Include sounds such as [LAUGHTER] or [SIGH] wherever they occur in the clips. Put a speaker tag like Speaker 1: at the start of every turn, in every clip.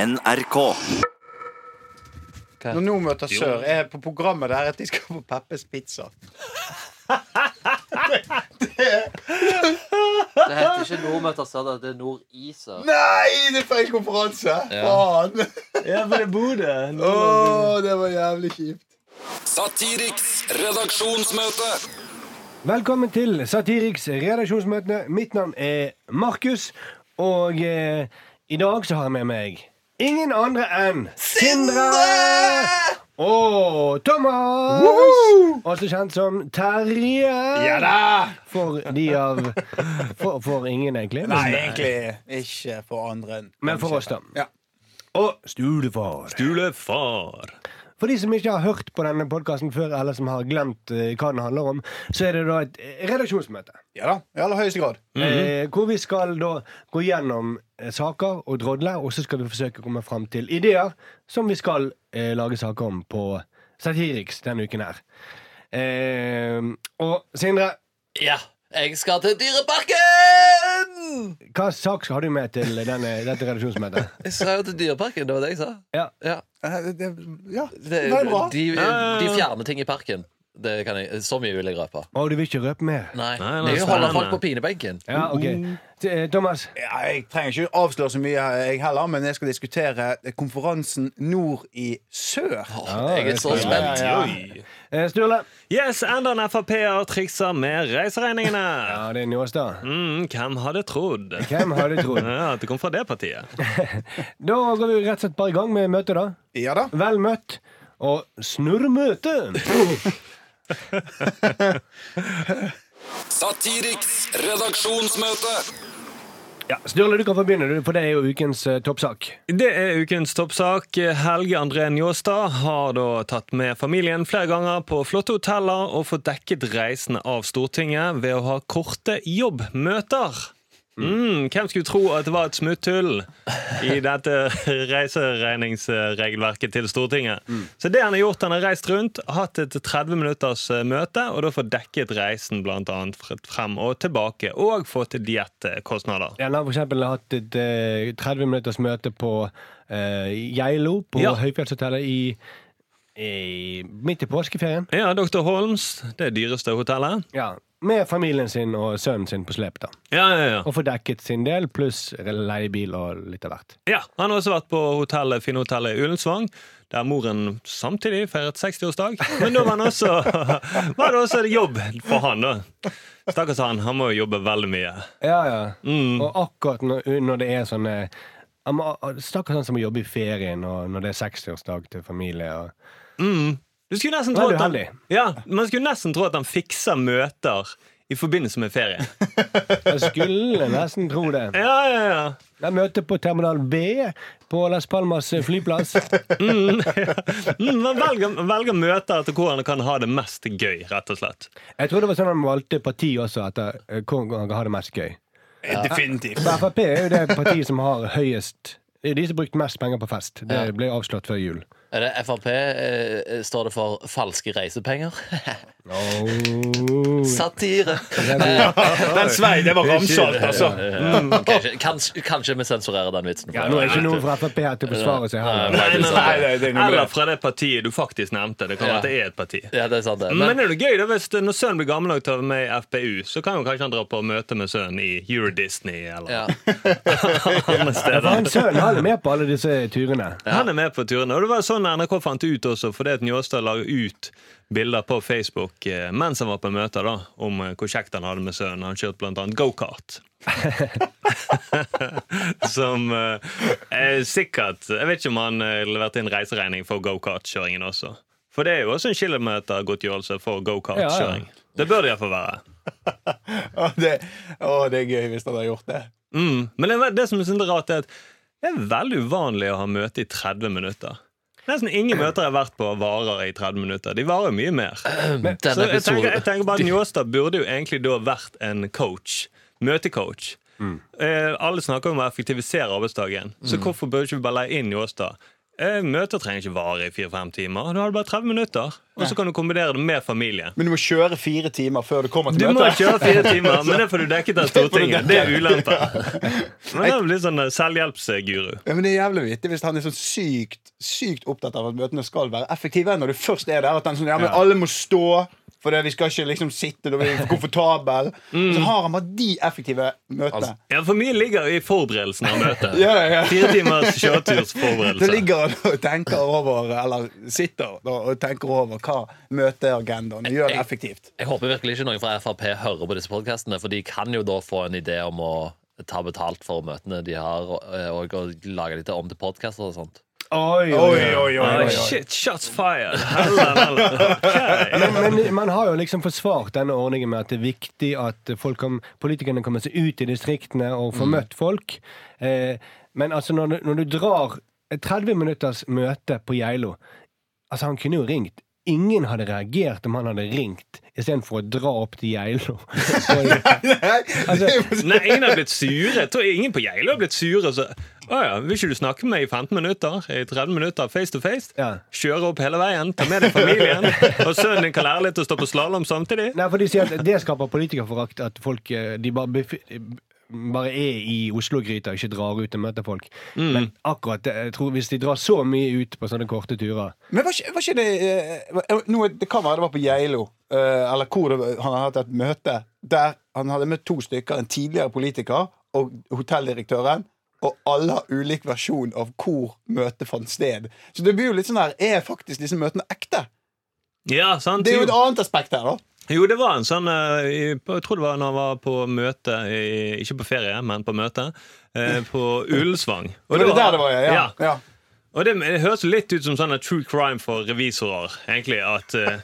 Speaker 1: NRK.
Speaker 2: Når nå møter sør, er på programmet der at de skal på Peppes Pizza.
Speaker 3: Det heter ikke Nordmøter Sørdag, det er Nordiser.
Speaker 2: Nei, det er feil konferanse! Faen!
Speaker 4: Ja, for det er Bodø.
Speaker 2: Å, det var jævlig kjipt.
Speaker 5: Satiriks redaksjonsmøte.
Speaker 6: Velkommen til Satiriks redaksjonsmøte. Mitt navn er Markus, og eh, i dag så har jeg med meg ingen andre enn Sindre! Og Thomas! Også kjent som Terje.
Speaker 2: Ja da!
Speaker 6: For de av For, for ingen, egentlig.
Speaker 2: Nei, egentlig ikke for andre enn
Speaker 6: Men for oss, da.
Speaker 2: Ja.
Speaker 6: Og Stulefar.
Speaker 4: Julefar.
Speaker 6: For de som ikke har hørt på denne podkasten før, eller som har glemt eh, hva den handler om, så er det da et eh, redaksjonsmøte.
Speaker 2: ja da. I aller høyeste grad.
Speaker 6: eh, hvor vi skal da gå gjennom eh, saker og drodle, og så skal vi forsøke å komme fram til ideer som vi skal eh, lage saker om på Satiriks denne uken her. Eh, og Sindre,
Speaker 3: Ja, jeg skal til Dyreparken!
Speaker 6: hva sak har du med til denne, dette redaksjonsmøtet?
Speaker 3: Jeg sa jo til Dyreparken, det var det jeg sa.
Speaker 6: Ja.
Speaker 3: Ja,
Speaker 2: Eh, Det, ja.
Speaker 3: det,
Speaker 2: Det er bra.
Speaker 3: De, de fjerner ting i parken. Det kan jeg, så mye vil jeg røpe.
Speaker 6: Og du vil ikke røpe mer?
Speaker 3: Nei,
Speaker 4: Nei, nei,
Speaker 3: Jeg vil holde
Speaker 4: spennende.
Speaker 3: folk på pinebenken.
Speaker 6: Ja, ok T- eh, Thomas,
Speaker 2: Ja, jeg trenger ikke avsløre så mye, eh, jeg heller, men jeg skal diskutere eh, konferansen Nord i Sør.
Speaker 3: Åh, jeg er så
Speaker 6: det er
Speaker 3: spent.
Speaker 6: eh, Sturle
Speaker 4: Yes, enda en Frp-er trikser med reiseregningene.
Speaker 6: Ja, det er Njåstad
Speaker 4: Mm, hvem hadde trodd?
Speaker 6: Hvem hadde
Speaker 3: [LAUGHS]
Speaker 6: trodd?
Speaker 4: Ja, At det kom fra det partiet.
Speaker 6: Da går vi rett og slett bare i gang med møtet da
Speaker 2: Ja da.
Speaker 6: Vel møtt og snurr møtet
Speaker 5: Satiriks redaksjonsmøte.
Speaker 6: Ja, Sturle, du kan få begynne, du, for det er jo ukens eh, toppsak.
Speaker 4: Det er ukens toppsak. Helge André Njåstad har da tatt med familien flere ganger på flotte hoteller og fått dekket reisene av Stortinget ved å ha korte jobbmøter. Mm, hvem skulle tro at det var et smutthull i dette [LAUGHS] reiseregningsregelverket til Stortinget? Så det han har gjort, han har reist rundt, hatt et 30 minutters eh, møte, og da fått dekket reisen blant annet fre- frem og tilbake, og fått diettkostnader.
Speaker 6: Den har for eksempel hatt et eh, 30 minutters møte på eh, Geilo, på
Speaker 4: Ja.
Speaker 6: Høyfjellshotellet, i, i midt i påskeferien.
Speaker 4: Ja, Dr. Holmes, det dyreste hotellet.
Speaker 6: Ja. Med familien sin og sønnen sin på slep, da.
Speaker 4: Ja, ja, ja.
Speaker 6: Og få dekket sin del, pluss leiebil og litt av hvert.
Speaker 4: ja. Han har også vært på hotellet, Finnhotellet i Ullensvang, der moren samtidig feiret 60-årsdag. Men da var, han også, [LAUGHS] var det også jobb for han, da. Stakkars han, han må jo jobbe veldig mye.
Speaker 6: Ja, ja. Og akkurat når, når det er sånn, eh, sånne ja, men, Stakkars han som må jobbe i ferien, og når det er 60-årsdag til familie. Og,
Speaker 4: Du skulle nesten
Speaker 6: Da er
Speaker 4: tro
Speaker 6: du
Speaker 4: at han,
Speaker 6: heldig.
Speaker 4: ja, man skulle nesten tro at han fikser møter i forbindelse med ferie.
Speaker 6: jeg skulle nesten tro det.
Speaker 4: Ja, ja, ja.
Speaker 6: Jeg møter på terminal B på Las Palmas flyplass.
Speaker 4: Mm, man velger, velger møter etter hvor han kan ha det mest gøy, rett og slett.
Speaker 6: Jeg tror det var sånn han valgte parti også, etter eh, hvor han har det mest gøy.
Speaker 2: Definitivt.
Speaker 6: For Frp er jo det partiet som har høyest Det er jo de som har brukt mest penger på fest. Det
Speaker 3: Ja.
Speaker 6: ble avslått før jul.
Speaker 3: Er det Frp? eh, Står det for falske reisepenger? [LAUGHS] Satire! [LAUGHS]
Speaker 2: Den svei, det var ramsalt, altså.
Speaker 3: Mm, Kanskje, kanskje, kanskje vi sensurerer den vitsen.
Speaker 6: Ja, nå er ikke noen fra Frp her til å forsvare seg heller.
Speaker 3: Nei, nei,
Speaker 2: Nei, nei, det er noe med
Speaker 4: Eller
Speaker 2: det.
Speaker 4: fra det partiet du faktisk nevnte. Det kan være at det er et parti.
Speaker 3: Ja, det er sant det.
Speaker 4: Men,
Speaker 3: Men,
Speaker 4: er det gøy da hvis det- når sønnen blir gammel nok til å være med i FPU, så kan jo kanskje han dra på møte med sønnen i Euro Disney eller [LAUGHS]
Speaker 3: ja.
Speaker 4: andre steder.
Speaker 6: Han sønnen han er med på alle disse turene.
Speaker 4: Han er med på turene. Og det var sånn NRK fant ut også, fordi at Njåstad la ut bilder på Facebook eh, mens han var på møter, da, om eh, hvor kjekt han hadde med sønnen. Han kjørte blant annet gokart. [LAUGHS] Som eh, er sikkert Jeg vet ikke om han eh, leverte inn reiseregning for gokartkjøringen også. For det er jo også en kilometergodtgjørelse for gokartkjøring. Det bør det iallfall være.
Speaker 2: Å, det, å, det er gøy hvis han har gjort det.
Speaker 4: Mm. Men det, det som jeg synes er rart, er at det er veldig uvanlig å ha møte i 30 minutter. Nesten ingen møter jeg har vært på varer i 30 minutter. De varer jo mye mer. Så
Speaker 3: Denne
Speaker 4: jeg tenker, jeg
Speaker 3: episoden
Speaker 4: tenker bare at Njåstad burde jo egentlig da vært en coach. Møtecoach. Eh, alle snakker om å effektivisere arbeidsdagen, så hvorfor bør ikke vi bare leie inn Njåstad? Eh, Møter trenger ikke vare i fire-fem timer. Du har bare 30 minutter. Og så kan du kombinere det med familie.
Speaker 1: Men du må kjøre fire timer før du kommer
Speaker 4: Du
Speaker 1: til
Speaker 4: må
Speaker 1: møtet.
Speaker 4: kjøre fire
Speaker 1: [LAUGHS]
Speaker 4: timer, men det får du dekket av Stortinget. Det er
Speaker 1: dekket.
Speaker 4: ulemper. Men det blir sånn eh, selvhjelpsguru.
Speaker 1: Ja, men det er jævlig vittig hvis han er sånn sykt sykt opptatt av at møtene skal være effektive. Når du først er der. At han sånn, ja, men
Speaker 4: Ja.
Speaker 1: alle må stå, for det, vi skal ikke liksom sitte da vi er komfortable. Så har han bare de effektive møtene.
Speaker 4: Ja, For mye ligger i forberedelsen av møtet.
Speaker 1: Altså, Ja, ja, ja.
Speaker 4: Fire timers
Speaker 1: Så
Speaker 4: kjøretursforberedelse.
Speaker 1: ligger han og tenker over Eller sitter da, og tenker over hva møteagendaen gjør det effektivt.
Speaker 3: Jeg håper virkelig ikke noen fra Frp hører på disse podkastene, for de kan jo da få en idé om å ta betalt for møtene de har, og, eh, og, og lage litt om til podkaster og sånt.
Speaker 6: Oi, oi,
Speaker 1: Oi,
Speaker 6: oi.
Speaker 1: oi, oi,
Speaker 4: Ah,
Speaker 1: oi, oi.
Speaker 4: shit, shots fired! Hellan, hellan. Ok.
Speaker 6: Men, men man har jo liksom forsvart denne ordningen med at det er viktig at folk kom, politikerne kommer seg ut i distriktene og får møtt folk. Eh, men altså, når du, når du drar et 30 minutters møte på Geilo Altså, han kunne jo ringt. Ingen hadde reagert om han hadde ringt istedenfor å dra opp til Geilo. Og- altså,
Speaker 4: Nei, ingen har blitt sure. Jeg tror ingen på Geilo har blitt sure. Så, å ja, vil ikke du snakke med meg i 15 minutter? I 30 minutter, face to face?
Speaker 6: Ja.
Speaker 4: Kjøre opp hele veien, ta med deg
Speaker 1: [LAUGHS]
Speaker 4: familien. Og sønnen din kan lære litt å stå på slalåm samtidig.
Speaker 6: Nei, for de sier at det skaper politikerforakt at folk eh, de bare, bef bare er i Oslo-gryta og ikke drar ut og møter folk. Men akkurat det, jeg tror hvis de drar så mye ut på sånne korte turer
Speaker 1: Men var ikke, var ikke det eh, noe, Det kan være det var på Geilo, eh, eller hvor det, var- han hadde hatt et møte, der han hadde møtt to stykker, en tidligere politiker og hotelldirektøren. Og alle har ulik versjon av hvor møtet fant sted. Så det blir jo litt sånn her Er faktisk disse møtene ekte?
Speaker 4: Ja, sant?
Speaker 1: Det er jo et
Speaker 4: Jo,
Speaker 1: annet aspekt her, da.
Speaker 4: jo, det var en sånn eh, i- på- Jeg tror det var når han var på møte, i- ikke på ferie, men på møte, eh, på Ullensvang.
Speaker 1: Og det [LAUGHS] var der det var, ja. ja. ja.
Speaker 4: Og det, det høres jo litt ut som sånn at true crime for revisorer. egentlig, at eh,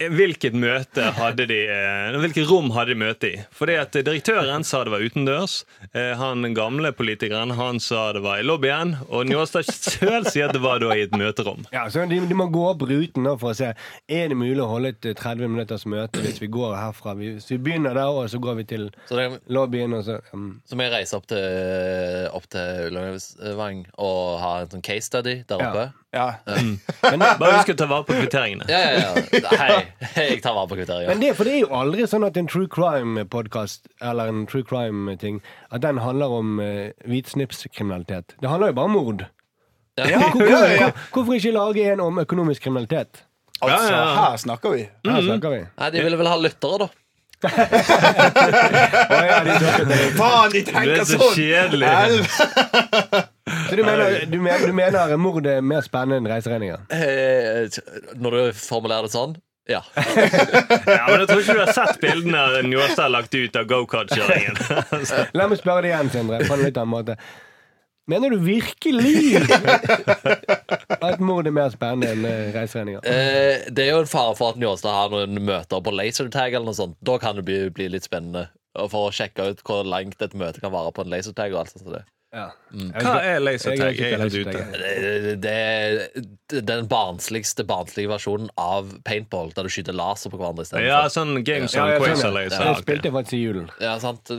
Speaker 4: Hvilket møte hadde de eh, Hvilket rom hadde de møte i? Fordi at Direktøren sa det var utendørs. eh, han den gamle politikeren han sa det var i lobbyen. Og Njåstad sjøl sier at det var da i et møterom.
Speaker 6: ja, så de, de må gå opp ruten da for å se Er det mulig å holde et eh, 30 minutters møte hvis vi går herfra. Vi, så vi begynner der, og så går vi til
Speaker 3: Så det,
Speaker 6: lobbyen, og så mm.
Speaker 3: så må jeg reise opp til, opp til Ullevål og ha en sånn case study der
Speaker 6: Ja.
Speaker 3: oppe.
Speaker 1: ja.
Speaker 4: Um,
Speaker 6: men, det,
Speaker 4: Bare husk å ta vare på kvitteringene.
Speaker 3: Ja, ja, ja. Hei, jeg tar vare på
Speaker 6: men
Speaker 3: kvitteringen.
Speaker 6: det, for det er jo aldri sånn at en true crime-podkast eller en true crime-ting At den handler om eh, hvitsnipskriminalitet. Det handler jo bare om mord.
Speaker 3: Ja.
Speaker 6: Hvor, hvor, hvor, hvorfor ikke lage en om økonomisk kriminalitet?
Speaker 1: Altså,
Speaker 4: Ja, ja, ja.
Speaker 1: her snakker vi.
Speaker 3: Mhm.
Speaker 6: Her snakker vi.
Speaker 3: Nei, de ville vel ha lyttere, da.
Speaker 1: Faen, de
Speaker 4: Du
Speaker 1: tenker
Speaker 4: er så
Speaker 1: sånn!
Speaker 4: kjedelig.
Speaker 6: Så du mener, du mener, du mener mord er mer spennende enn reiseregninger?
Speaker 3: Eh, Når du formulerer det sånn. Ja.
Speaker 4: Ja, men Jeg tror ikke du har sett bildene Njåstad har lagt ut av go-kart-kjøringen.
Speaker 6: La meg spørre deg igjen, Sindre. På en litt annen måte. Mener du virkelig at mord er mer spennende enn eh, reiseregninger?
Speaker 3: Eh, det er jo en fare for at Njåstad har noen møter på lasertag eller noe sånt. Da kan det bli, bli litt spennende. Og For å sjekke ut hvor langt et møte kan vare på en lasertag. og alt sånt som det.
Speaker 6: Ja.
Speaker 4: mm. Hva er lasertag? Jeg er helt ute.
Speaker 3: Det, det, det er den barnsligste barnslige versjonen av paintball, der du skyter laser på hverandre istedenfor.
Speaker 4: [LAUGHS] Ja, sånn Games
Speaker 6: Ja,
Speaker 4: on
Speaker 6: jeg
Speaker 4: Quasar
Speaker 6: skjønner.
Speaker 4: Laser.
Speaker 6: Det spilte jeg faktisk i
Speaker 4: [LAUGHS]
Speaker 6: julen.
Speaker 3: Ja, sant?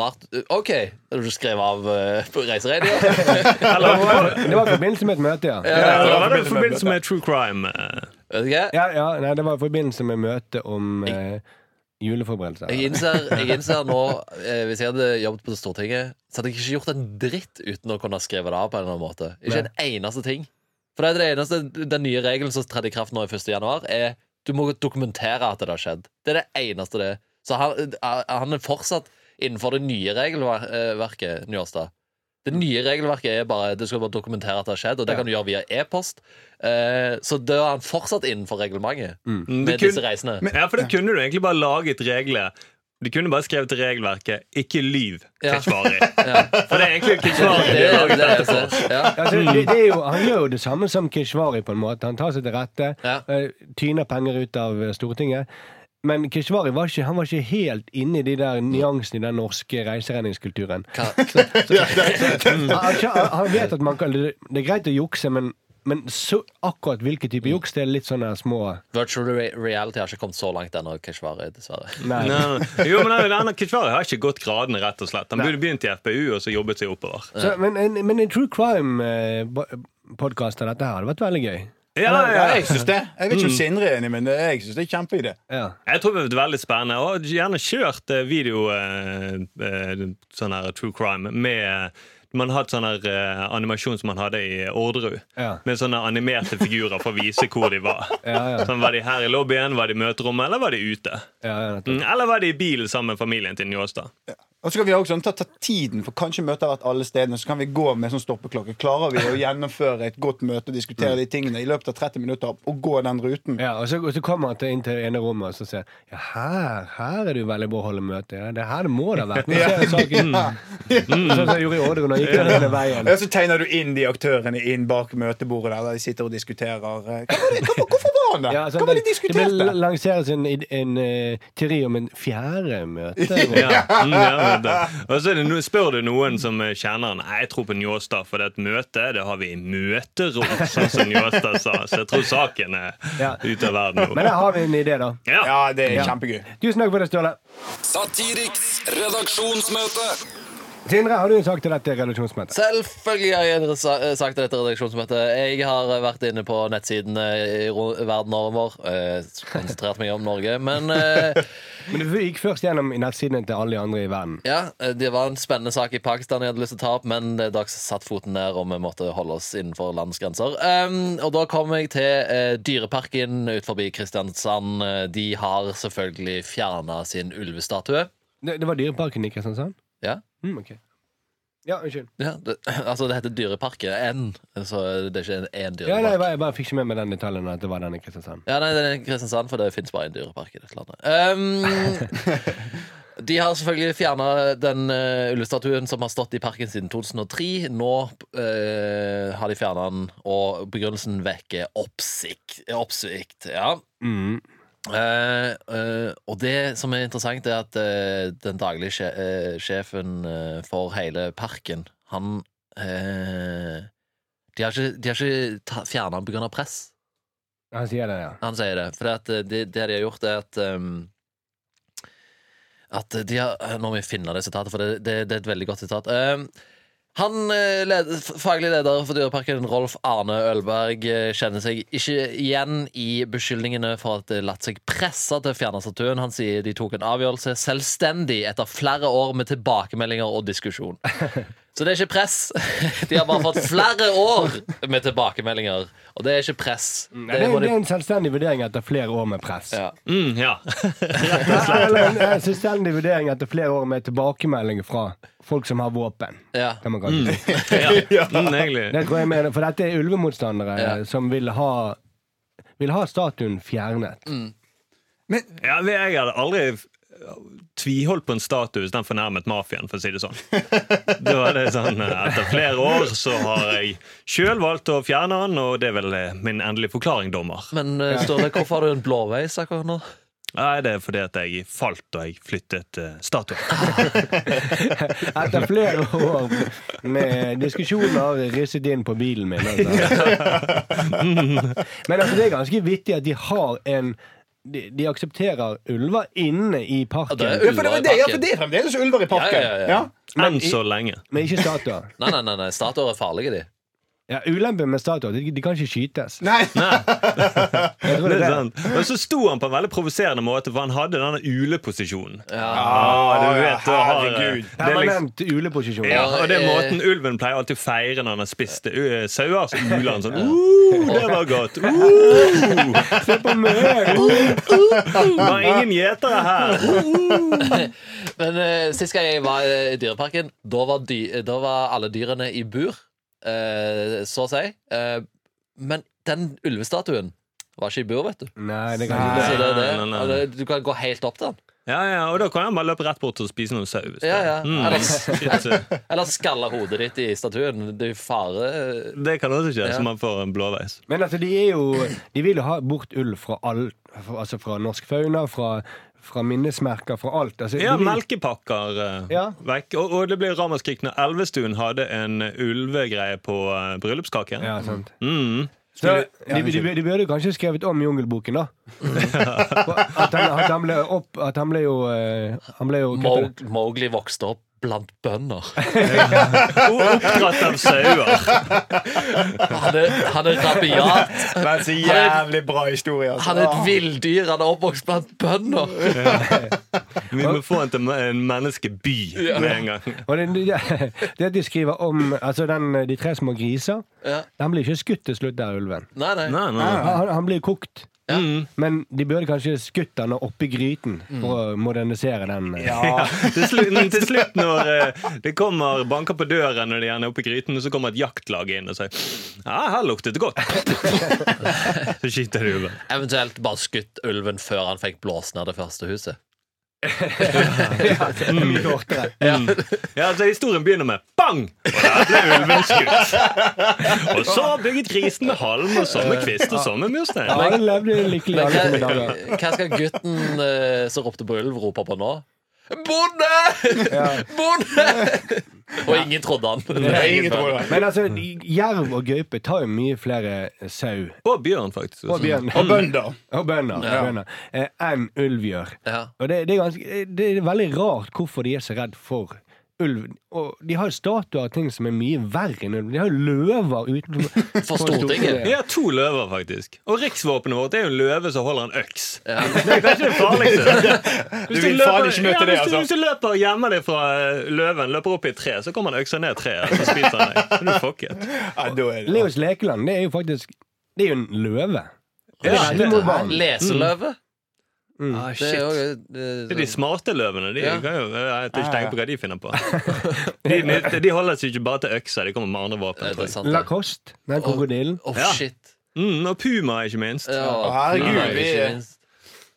Speaker 3: Rart. OK, har du skrev av eh, på reiseregninger?
Speaker 6: Det var det var i forbindelse med et møte, ja.
Speaker 4: Ja, det var det i forbindelse med true crime. eh.
Speaker 3: Vet ikke?
Speaker 6: Ja, ja nei, det var i forbindelse med møte om eh, juleforberedelser.
Speaker 3: Jeg innser, jeg innser nå, eh, hvis jeg hadde jobbet på Stortinget, så hadde jeg ikke gjort en dritt uten å kunne ha skrevet det av på en eller annen måte. Ikke en eneste ting. For det er det eneste, den nye regelen som tredde i kraft nå i 1. januar, er du må dokumentere at det har skjedd. Det er det eneste det er. Så han, eh, han er fortsatt innenfor det nye regelverket, Njåstad. Det nye regelverket er bare du skal bare dokumentere at det har skjedd, og det kan du gjøre via e-post. Eh, Så da er han fortsatt innenfor reglementet
Speaker 4: Det
Speaker 3: med
Speaker 4: kun-
Speaker 3: disse reisene.
Speaker 4: Ja, for da kunne du egentlig bare laget regler. Du kunne bare skrevet til regelverket 'ikke lyv',
Speaker 3: Ja.
Speaker 4: [LAUGHS] Keshvari.
Speaker 3: Ja.
Speaker 4: For det er egentlig Keshvari
Speaker 3: Det
Speaker 4: de
Speaker 3: er
Speaker 4: har laget
Speaker 3: det
Speaker 4: dette
Speaker 3: eneste.
Speaker 4: for. [LAUGHS]
Speaker 3: Ja.
Speaker 6: Altså, det, det er jo, han gjør jo det samme som Keshvari, på en måte. Han tar seg til rette,
Speaker 3: Ja.
Speaker 6: eh, tyner penger ut av eh, Stortinget. Men Keshvari var ikke, han var ikke helt inne i de der nyansene i den norske reiseregningskulturen.
Speaker 3: Hva,
Speaker 6: Han, han- han vet at man kan, det det er greit å jukse, men, men så, akkurat hvilken type juks, det er litt sånne små
Speaker 3: Virtual re- reality har ikke kommet så langt ennå, Keshvari, dessverre.
Speaker 6: Nei.
Speaker 4: Nei, nei. Jo, men nei, denne Keshvari har ikke gått gradene, rett og slett. Han burde begynt i FPU og så jobbet seg oppover.
Speaker 6: Så, men, en, men en true crime eh, ba- podkast av dette her. Det hadde vært veldig gøy.
Speaker 4: Ja, ja,
Speaker 2: Ja, jeg syns det. Jeg vet ikke
Speaker 4: Mm.
Speaker 2: om Sindre er enig, men jeg syns det er en kjempeidé.
Speaker 6: Ja.
Speaker 4: Jeg tror det har vært veldig spennende. Og gjerne kjørt eh, video eh, eh, sånn her true crime med man har hatt sånn her eh, animasjon som man hadde i Orderud.
Speaker 6: Ja.
Speaker 4: Med sånne animerte figurer for å vise hvor de var.
Speaker 6: [LAUGHS] Ja, ja.
Speaker 4: Sånn, Var de her i lobbyen, var de i møterommet, eller var de ute?
Speaker 6: Ja, ja, nettopp.
Speaker 4: Mm, Eller var de i bilen sammen med familien til
Speaker 6: [LAUGHS]
Speaker 4: Njåstad?
Speaker 1: Og så kan vi også
Speaker 2: sånn,
Speaker 1: ta, ta tiden, for kanskje møtet har vært alle stedene. Så kan vi gå med sånn stoppeklokke. Klarer vi å gjennomføre et godt møte og diskutere de tingene i løpet av 30 minutter og gå den ruten?
Speaker 6: Ja, og så, og så kommer han til inn til det ene rommet og så sier han, Ja, her, her er det jo veldig bra å holde møte. Ja, det her må det ha vært. Nå ser jeg saken. Sånn som jeg gjorde i Ådegård når jeg gikk den hele veien.
Speaker 2: Ja, Så tegner du inn de aktørene inn bak møtebordet der, der de sitter og diskuterer. eh, Hva var det, hva, hvorfor var han der?
Speaker 6: Ja, så
Speaker 2: Hva var det de
Speaker 6: det- Det
Speaker 2: diskuterte?
Speaker 6: vil lanseres en, en, eh, teori om en fjerde møte.
Speaker 4: Ja, mm, ja, vet du. og så er det no, spør du noen som eh, kjenner han Nei, jeg tror på Njåstad, for det er et møte det har vi i møterom, [LAUGHS] sånn som Njåstad sa. Så jeg tror saken er
Speaker 6: Ja.
Speaker 4: ute av verden
Speaker 6: Men
Speaker 4: nå.
Speaker 6: der har vi en idé, da.
Speaker 4: Ja.
Speaker 2: Ja, det er
Speaker 6: Ja.
Speaker 2: kjempegøy.
Speaker 6: Tusen takk for det, Ståle.
Speaker 5: Satiriks redaksjonsmøte.
Speaker 6: Sindre, har du en sak til dette redaksjonsmøtet?
Speaker 3: Selvfølgelig har jeg en sa- sagt dette redaksjonsmøtet. Jeg har eh, vært inne på nettsidene i ro- verden over. eh, Konsentrert meg om Norge. Men eh,
Speaker 6: Men Du gikk først gjennom i nettsidene til alle de andre i verden.
Speaker 3: ja, eh, det var en spennende sak i Pakistan jeg hadde lyst til å ta opp, men det er dags satt foten ned, og vi måtte holde oss innenfor landsgrenser. Um, og da kom jeg til eh, Dyreparken ut forbi Kristiansand. Eh, De har selvfølgelig fjerna sin ulvestatue.
Speaker 6: Det, det var Dyreparken i Kristiansand?
Speaker 3: Ja.
Speaker 6: Mm, ok. Ja, unnskyld.
Speaker 3: Ja, det, [CLEARS THROAT] altså det heter Dyreparken. N. Så det er ikke en- en
Speaker 6: Ja, nei, jeg,
Speaker 3: dyrepark.
Speaker 6: bare, jeg bare fikk ikke med meg den detaljen at det var den i Kristiansand.
Speaker 3: Ja, nei, det er Kristiansand, for det fins bare en dyrepark i dette [LAUGHS] landet. Um, de har selvfølgelig fjerna den eh, ulvestatuen som har stått i parken siden 2003. Nå eh, har de fjerna den, og begrunnelsen vekker oppsikt. oppsikt ja.
Speaker 6: Mm.
Speaker 3: Eh, eh, og det som er interessant, er at eh, den daglige sje, eh, sjefen eh, for hele parken, han eh, De har ikke, de har ikke ta- fjernet den på grunn av press.
Speaker 6: Han sier det, ja.
Speaker 3: Han sier det. For at eh, det, det de har gjort, er at ehm, At de har eh, Nå må jeg finne det sitatet, for det, det, det er et veldig godt sitat. Ehm, han, eh, led, f- Faglig leder for Dyreparken, Rolf Arne Ølberg, eh, kjenner seg ikke igjen i beskyldningene for at det latt seg presse til å fjerne statuen. Han sier de tok en avgjørelse selvstendig etter flere år med tilbakemeldinger og diskusjon. Så det er ikke press. [LAUGHS] De har bare fått flere år med tilbakemeldinger. Og det er ikke press.
Speaker 6: Mm, Det, er-
Speaker 3: manip-
Speaker 6: det er en selvstendig vurdering etter flere år med press. [LAUGHS]
Speaker 3: ja.
Speaker 4: Mm, [LAUGHS] ja.
Speaker 6: Eller en eh, selvstendig vurdering etter flere år med tilbakemelding fra folk som har våpen.
Speaker 3: Ja.
Speaker 6: Kan man kanskje si.
Speaker 4: ja. Mm, egentlig.
Speaker 6: Det tror jeg mener, for dette er ulvemotstandere
Speaker 3: Ja.
Speaker 6: eh, som vil ha vil ha statuen fjernet.
Speaker 3: Mm.
Speaker 4: Ja, men jeg hadde aldri f- tviholdt på en statue hvis den fornærmet mafiaen, for å si det [LAUGHS] sånn. Da var det sånn eh, Etter flere år så har jeg sjøl valgt å fjerne den, og det er vel eh, min endelige forklaring, dommer.
Speaker 3: Men eh, Ståle, hvorfor har du en blåveis akkurat nå?
Speaker 4: Nei, det er fordi at jeg falt da jeg flyttet eh, statuen.
Speaker 6: [LAUGHS] Etter flere år med diskusjoner risset inn på bilen min. Altså. [LAUGHS] Men altså, det er ganske vittig at de har en De, de aksepterer ulver inne i parken.
Speaker 3: det er
Speaker 2: Ja, for det, var det, ja,
Speaker 3: Ulver i
Speaker 2: for det er fremdeles ulver i parken.
Speaker 3: Ja, ja, ja, ja.
Speaker 4: Enn så lenge.
Speaker 6: Men ikke statuer.
Speaker 3: Nei, nei, nei, nei. statuer er farlige, de.
Speaker 6: Ja, Ulempen med statuer de, de kan ikke skytes.
Speaker 2: Nei, [LAUGHS]
Speaker 6: Jeg tror
Speaker 4: Det
Speaker 6: det er
Speaker 4: er
Speaker 6: det.
Speaker 4: sant. Og så sto han på en veldig provoserende måte, for han hadde denne uleposisjonen.
Speaker 3: Ja.
Speaker 4: Ah, du
Speaker 2: ja,
Speaker 4: vet, da har-
Speaker 2: herregud.
Speaker 4: Det er liksom,
Speaker 6: Permanent uleposisjon.
Speaker 4: ja, og det er
Speaker 3: eh,
Speaker 4: måten ulven pleier alltid å feire når han har spist ø, sauer. Så uler han sånn uh, 'Det var
Speaker 3: [LAUGHS]
Speaker 4: godt!' Uh,
Speaker 6: Se på meg!
Speaker 4: var ingen gjetere
Speaker 3: [LAUGHS]
Speaker 4: her!
Speaker 3: Men eh, sist gang jeg var eh, i Dyreparken, da var, dy da var alle dyrene i bur, eh, så å si. Eh, men den ulvestatuen var ikke i bur, vet du.
Speaker 6: Nei, det kan
Speaker 3: Så
Speaker 6: ikke
Speaker 3: det, er det,
Speaker 4: nei, nei.
Speaker 3: og det, du kan gå helt opp til den.
Speaker 4: Ja, ja, Og da kan han bare løpe rett bort og spise noen sau. hvis det-
Speaker 3: Ja, ja.
Speaker 4: Mm,
Speaker 3: [LAUGHS]
Speaker 4: shit.
Speaker 3: Eller skalle hodet ditt i statuen. Det er jo fare
Speaker 4: Det kan også skje,
Speaker 3: Ja.
Speaker 4: så man får en blåveis.
Speaker 6: Men altså, de er jo De vil jo ha bort ulv fra all fra, Altså fra norsk fauna, fra, fra minnesmerker, fra alt. Altså,
Speaker 4: Ja,
Speaker 6: de
Speaker 3: Mm.
Speaker 6: vil-
Speaker 4: melkepakker eh,
Speaker 6: Ja.
Speaker 4: vekk. Og, og det ble ramaskrik når Elvestuen hadde en ulvegreie på eh, bryllupskaken.
Speaker 6: Ja, sant.
Speaker 4: Mm.
Speaker 6: Så de, de, de, burde jo kanskje skrevet om Jungelboken,
Speaker 4: [LAUGHS]
Speaker 6: da. For At han, at han ble opp At han ble jo eh, Han ble jo hva heter det?
Speaker 3: Mowgli vokste opp blant bønder. [LAUGHS]
Speaker 4: Og oppdratt av sauer.
Speaker 6: [LAUGHS]
Speaker 3: Han er, han er rabiat.
Speaker 2: Men så jævlig bra historie, altså.
Speaker 3: Han er et villdyr. Han er oppvokst blant bønder.
Speaker 4: Vi må få han til en menneskeby med en gang.
Speaker 6: Og det, det, det at de skriver om altså den, de tre små griser
Speaker 3: Ja.
Speaker 6: Han blir ikke skutt til slutt der, ulven.
Speaker 3: Nei, nei.
Speaker 4: Nei, nei.
Speaker 6: Han, han blir kokt.
Speaker 3: Ja.
Speaker 6: Men de burde kanskje skutt han oppi gryten for å modernisere den. eh.
Speaker 2: Ja.
Speaker 4: Til slutt, til slutt når eh, det kommer banker på døren når de gjerne er oppe i gryten, og så kommer et jaktlag inn og sier Ja, her luktet det
Speaker 6: [LAUGHS]
Speaker 4: godt. Så skyter de ulven.
Speaker 3: Eventuelt bare skutt ulven før han fikk blåst ned det første huset.
Speaker 4: Mm. Ja, så historien begynner med bang! Og der ble ulven skutt. Og så bygget grisen med halm, og så med kvist, og så med murstein.
Speaker 6: Ja, han levde lykkelig
Speaker 3: Men
Speaker 6: [LAUGHS]
Speaker 3: eh,
Speaker 6: alle sine
Speaker 3: hva,
Speaker 6: dager.
Speaker 3: hva skal gutten eh, som ropte på ulv, rope på nå? Bonde! Bonde! Og ingen trodde han.
Speaker 2: Ingen tror det.
Speaker 6: Men altså, jerv og gaupe tar jo mye flere sau Altså,
Speaker 4: Og bjørn, faktisk.
Speaker 6: og bjørn
Speaker 2: Og bønder.
Speaker 6: og bønder, og bønder eh, enn ulv gjør.
Speaker 3: Ja.
Speaker 6: Og det, det, er ganske, det er veldig rart hvorfor de er så redd for ulv. Og de har jo statuer av ting som er mye verre enn ulv. De har jo løver uten
Speaker 3: [LAUGHS] For Stortinget.
Speaker 4: Ja, to løver, faktisk. Og riksvåpenet vårt er jo en løve som holder en øks.
Speaker 3: Ja.
Speaker 4: Det er kanskje det farligste. Hvis
Speaker 2: Du vil
Speaker 4: løper-
Speaker 2: faen ikke møte det,
Speaker 4: ja, hvis du,
Speaker 2: altså.
Speaker 4: hvis du løper og gjemmer deg fra eh, løven, løper opp i et tre, så kommer han øksa ned treet, og så spiser han deg. Så er du fucket.
Speaker 2: Ja, da er det
Speaker 6: Leos lekeland, det er jo faktisk Det er jo en løve.
Speaker 4: Ja, det,
Speaker 6: Veldig moderne.
Speaker 3: Leseløve. Mm.
Speaker 4: ah,
Speaker 3: Det er
Speaker 4: shit.
Speaker 3: jo eh,
Speaker 4: Det er de smarte løvene. De
Speaker 3: Ja.
Speaker 4: kan jo jeg tenker ikke tenke på hva de finner på. De, de, de holder seg ikke bare til øksa, de kommer med andre våpen. tror jeg.
Speaker 3: interessant. det.
Speaker 6: Lacoste, den krokodillen.
Speaker 3: Åh,
Speaker 4: Ja.
Speaker 3: shit.
Speaker 4: Mm, og puma, ikke minst.
Speaker 3: Ja,
Speaker 2: herregud,
Speaker 3: nei,
Speaker 2: vi-
Speaker 3: ikke minst.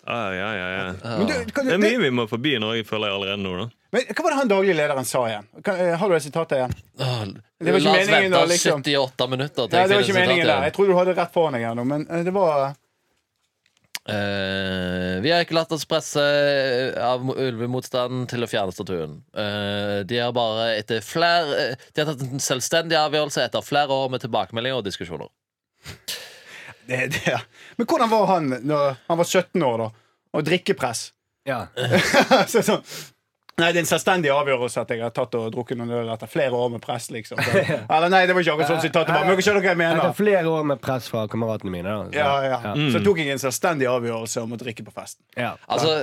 Speaker 4: Ah, ja, ja, ja.
Speaker 2: Men du, kan
Speaker 4: Det
Speaker 2: du,
Speaker 4: er mye vi må forbi i Norge, føler jeg allerede nå. Da.
Speaker 2: men, hva var det han daglige lederen sa igjen? Kan, eh, har du det sitatet igjen?
Speaker 3: Åh,
Speaker 2: Det var ikke
Speaker 3: Ah, La oss
Speaker 2: meningen
Speaker 3: vente
Speaker 2: da, liksom.
Speaker 3: 78 minutter. til
Speaker 2: Nei, det
Speaker 3: jeg
Speaker 2: var ikke
Speaker 3: finner
Speaker 2: meningen der.
Speaker 3: sitatet.
Speaker 2: Jeg tror du hadde rett foran deg her nå, men eh, det var
Speaker 3: Eh, vi har ikke latt oss presse eh, av ulvemotstanden til å fjerne statuen. Eh, de har bare etter flere eh, De har tatt en selvstendig avgjørelse etter flere år med tilbakemeldinger og diskusjoner.
Speaker 2: det, det. ja. Men hvordan var han når han var 17 år, da? Og drikkepress? [LAUGHS]
Speaker 6: Ja.
Speaker 2: så, sånn. Nei, det er en selvstendig avgjørelse at jeg har tatt og drukket noen øl etter flere år med press, liksom. Så, [LAUGHS] eller nei, det var ikke akkurat sånn sitatet var, men dere skjønner hva jeg
Speaker 6: Etter
Speaker 2: mener.
Speaker 6: flere år med press fra kameratene mine. Da, så-
Speaker 2: Ja, ja. Mm. Så tok jeg en selvstendig avgjørelse om å drikke på [LAUGHS] festen.
Speaker 6: ja.
Speaker 3: Altså,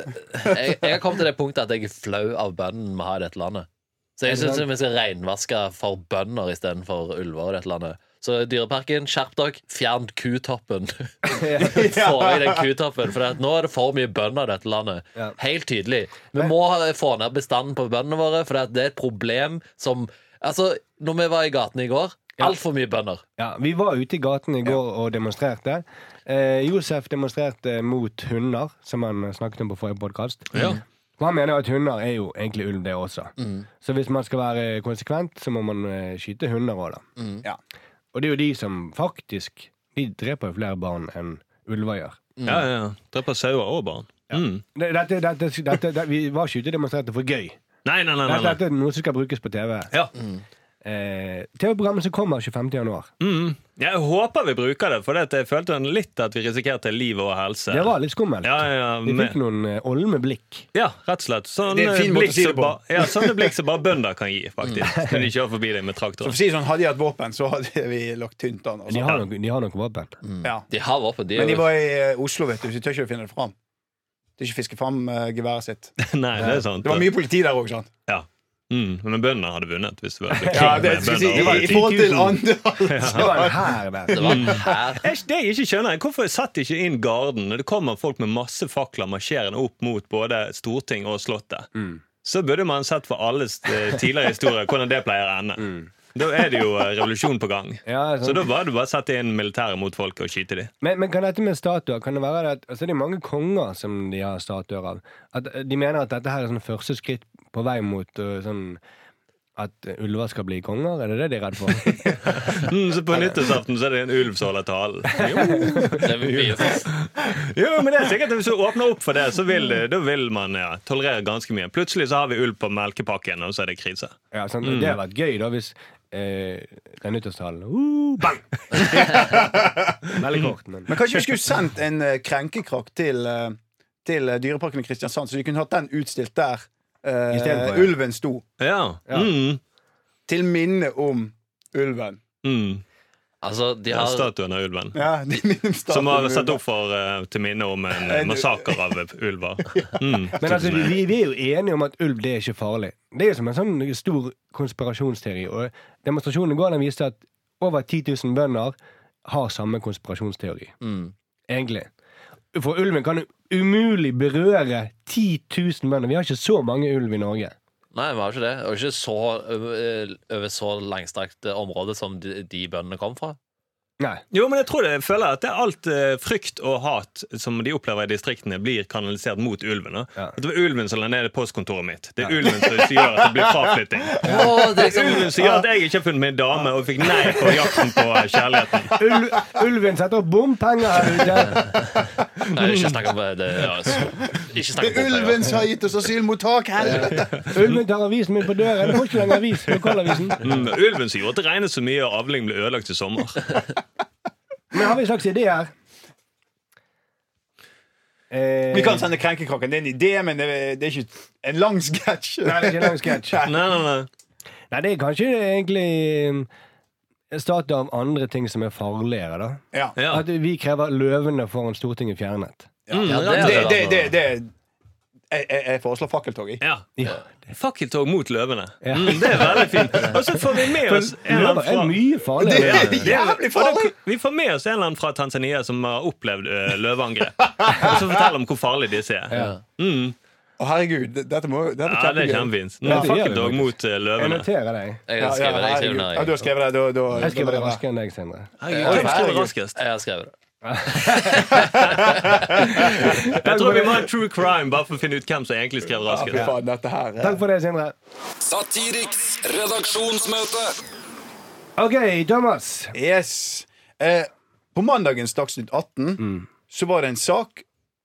Speaker 3: jeg, jeg har kommet til det punktet at jeg er flau av bøndene vi har i dette landet. Så jeg syns vi skal renvaske for bønder istedenfor ulver i dette landet. Så Dyreparken, skjerp dere. Fjern kutoppen.
Speaker 2: [LAUGHS]
Speaker 3: Få i den kutoppen. For at nå er det for mye bønder i dette landet.
Speaker 6: Ja.
Speaker 3: Helt tydelig. Vi må ha- få ned bestanden på bøndene våre, for at det er et problem som Altså, når vi var i gatene i går Altfor mye bønder.
Speaker 6: Ja, vi var ute i gaten i går og demonstrerte. Eh, Josef demonstrerte mot hunder, som han snakket om på forrige podkast. Han mener at hunder er jo egentlig ulv, det også. Så hvis man skal være konsekvent, så må man eh, skyte hunder òg, da.
Speaker 2: Ja.
Speaker 6: Og det er jo de som faktisk De dreper jo flere barn enn ulver gjør.
Speaker 3: Mm.
Speaker 4: Ja, ja, ja. Dreper sauer og barn. Mm.
Speaker 6: Det- Dette, dette, dette, det- vi var ikke ute og demonstrerte for gøy.
Speaker 4: Nei, nei, nei. nei,
Speaker 6: Dette,
Speaker 4: nei.
Speaker 6: dette er noe som skal brukes på TV.
Speaker 4: Ja.
Speaker 3: Mm.
Speaker 6: Eh, TV-programmet som kommer 25. januar.
Speaker 4: Mm. Jeg håper vi bruker det, for det at jeg følte en litt at vi risikerte liv og helse.
Speaker 6: Det var litt skummelt.
Speaker 4: ja, ja, ja,
Speaker 6: Vi fikk
Speaker 4: med,
Speaker 6: noen eh, olme blikk.
Speaker 4: ja, rett og slett. Sånn
Speaker 2: Det er en fin måte å
Speaker 4: blikk
Speaker 2: si det
Speaker 4: som
Speaker 2: på. Mm.
Speaker 4: ba- ja, sånne blikk som bare bønder kan gi, faktisk. Når de kjører forbi deg med
Speaker 2: Så [LAUGHS]
Speaker 4: traktor.
Speaker 2: for å si det sånn, hadde jeg hatt våpen, så hadde vi lagt tynt an.
Speaker 6: De
Speaker 2: Altså.
Speaker 6: har nok, de har nok våpen.
Speaker 2: Ja.
Speaker 3: De har våpen. De
Speaker 2: Men
Speaker 3: er
Speaker 2: de
Speaker 3: jo
Speaker 2: var i eh, Oslo, vet du, så de tør ikke å finne det fram. De ikke fiske fram eh, geværet sitt.
Speaker 4: Nei, det er sant.
Speaker 2: Det var mye politi der òg, sant?
Speaker 4: Ja. Mm. Men bøndene hadde vunnet. Hvis det var
Speaker 2: Ja, det, skal jeg si, i, I forhold til
Speaker 4: [LAUGHS]
Speaker 2: andre
Speaker 6: Det var en hær der.
Speaker 3: Det var
Speaker 2: [LAUGHS]
Speaker 3: her.
Speaker 4: Jeg, det jeg ikke skjønner, er Hvorfor satt de ikke inn garden når det kommer folk med masse fakler marsjerende opp mot både storting og slottet?
Speaker 6: Mm.
Speaker 4: Så burde man sett for alles eh, tidligere historier hvordan det pleier å ende.
Speaker 2: Mm.
Speaker 4: Da er det jo eh, revolusjon på gang.
Speaker 6: Ja,
Speaker 4: Så
Speaker 6: sånn.
Speaker 4: da var det bare å sette inn militæret mot folket og skyte dem.
Speaker 6: men, men kan dette med statuer Kan det være det at altså Det er mange konger som de har statuer av. At eh, De mener at dette her er sånn første skritt på vei mot eh, sånn at eh, ulver skal bli konger? Er det det de er redd
Speaker 4: [LAUGHS]
Speaker 6: for?
Speaker 4: Mm, så på nyttårsaften så er det en ulv som holder
Speaker 2: [LAUGHS]
Speaker 4: talen. Jo.
Speaker 3: Det er mye for-
Speaker 4: jo, men det er sikkert at Hvis du åpner opp for det, så vil, det- da vil man ja, tolerere ganske mye. Plutselig så har vi ulv på melkepakken, og så er det krise.
Speaker 6: Ja, sånn, Det hadde vært gøy da hvis eh, den nyttårstalen uh,
Speaker 4: [LAUGHS]
Speaker 6: Bang! Veldig kort, men
Speaker 2: Men kanskje vi skulle sendt en eh, krenkekrakk til, eh, til eh, Dyreparken i Kristiansand, så de kunne hatt den utstilt der
Speaker 1: eh,
Speaker 6: Istedenfor, ja.
Speaker 1: ulven sto.
Speaker 4: Ja.
Speaker 6: Ja.
Speaker 4: Mm.
Speaker 1: Til minne om ulven.
Speaker 4: Mm.
Speaker 3: Altså, de
Speaker 4: Ja,
Speaker 3: har
Speaker 4: Statuen av ulven.
Speaker 1: Ja,
Speaker 2: [LAUGHS]
Speaker 1: de minner om
Speaker 4: Som
Speaker 1: statuen
Speaker 4: var
Speaker 1: om
Speaker 4: satt
Speaker 1: ulven.
Speaker 4: opp for, eh, til minne om
Speaker 6: [LAUGHS]
Speaker 4: en eh, massakre av ulver. Mm.
Speaker 6: Men altså, vi, vi er jo enige om at ulv det er ikke farlig. Det er jo som en sånn stor konspirasjonsteori. Og demonstrasjonen i går den viste at over 10 000 bønder har samme konspirasjonsteori.
Speaker 2: Mm.
Speaker 6: Egentlig. For ulven kan jo umulig berøre 10 000 bønder. Vi har ikke så mange ulv i Norge.
Speaker 3: Nei, vi har ikke det. Og ikke så, over, over så langstrakt eh, område som de, de bøndene kom fra.
Speaker 6: Nei.
Speaker 4: Jo, men jeg tror det, jeg føler at det er alt eh, frykt og hat som de opplever i distriktene, blir kanalisert mot ulven. da.
Speaker 6: Ja.
Speaker 4: At det var ulven som la ned postkontoret mitt. Det er ulven som gjør at det blir fraflytting.
Speaker 3: Å, det er liksom,
Speaker 4: Ulven som gjør at jeg ikke har funnet meg en dame og fikk nei på jakten på eh, kjærligheten.
Speaker 6: Ulv, ulven setter opp bompenger her ute.
Speaker 3: nei, ikke snakk om det. Ja, s- ikke snakk
Speaker 1: Det er
Speaker 3: om bompenger.
Speaker 1: ulven som har gitt oss asylmottak!
Speaker 4: [LAUGHS]
Speaker 1: Helvete!
Speaker 6: Ulven tar avisen min på døren. Du får ikke lenger avis. Lokalavisen.
Speaker 4: Mm, ulven som gjorde at det regnet så mye og avling ble ødelagt i sommer.
Speaker 6: Men har vi en slags idé her? Eh,
Speaker 2: Vi kan sende Krenkekaken. Det er en idé, men det er, det er ikke en lang sketsj.
Speaker 6: Nei, det er ikke en lang sketsj.
Speaker 4: Nei, nei, nei.
Speaker 6: Nei, det er kanskje egentlig eh, startet av andre ting som er farligere, da.
Speaker 2: Ja.
Speaker 4: Ja.
Speaker 6: At vi krever løvene foran Stortinget fjernet.
Speaker 3: Mm, ja,
Speaker 2: Det,
Speaker 3: det,
Speaker 2: det, det, det jeg, jeg, jeg foreslår fakkeltog. i.
Speaker 4: Ja.
Speaker 6: Ja.
Speaker 4: Fakkeltog mot løvene.
Speaker 6: Ja. [LAUGHS]
Speaker 4: Mm, det er veldig fint. Og så får vi med oss en eller
Speaker 6: Løver
Speaker 4: annen
Speaker 6: er
Speaker 4: fra
Speaker 6: mye farligere.
Speaker 4: Ja, det-
Speaker 2: Jævlig
Speaker 4: Og da-
Speaker 2: farlig!
Speaker 4: Vi får med oss en eller annen fra Tanzania som har opplevd eh, løveangrep. Og så forteller om hvor farlige disse er.
Speaker 6: Ja.
Speaker 4: Mm.
Speaker 1: Å, herregud, det- dette må dette
Speaker 4: Ja, det er kjempefint. Ja,
Speaker 6: det gjør det
Speaker 4: Fakkeltog
Speaker 6: faktisk.
Speaker 4: mot eh,
Speaker 6: Jeg
Speaker 4: løvene.
Speaker 6: noterer deg.
Speaker 3: Jeg
Speaker 2: Ja,
Speaker 3: har
Speaker 2: ja,
Speaker 3: skrevet det. Jeg skriver
Speaker 2: herregud.
Speaker 3: nei.
Speaker 2: ja, du har skrevet det. Da, da,
Speaker 6: Jeg
Speaker 2: da blir
Speaker 6: skriver det
Speaker 2: det bra.
Speaker 6: raskere enn deg, Sindre.
Speaker 4: Herregud, Hvem skriver raskest?
Speaker 3: Jeg har skrevet det.
Speaker 4: Jeg tror vi må ha en true crime bare for å finne ut hvem som egentlig skrev
Speaker 2: Ja, fy
Speaker 4: raskest.
Speaker 2: faen, dette her eh.
Speaker 6: Takk for det, Sindre.
Speaker 5: Satiriks redaksjonsmøte.
Speaker 6: OK, Thomas.
Speaker 2: Yes. Eh, på mandagens Dagsnytt 18
Speaker 6: Mm.
Speaker 2: så var det en sak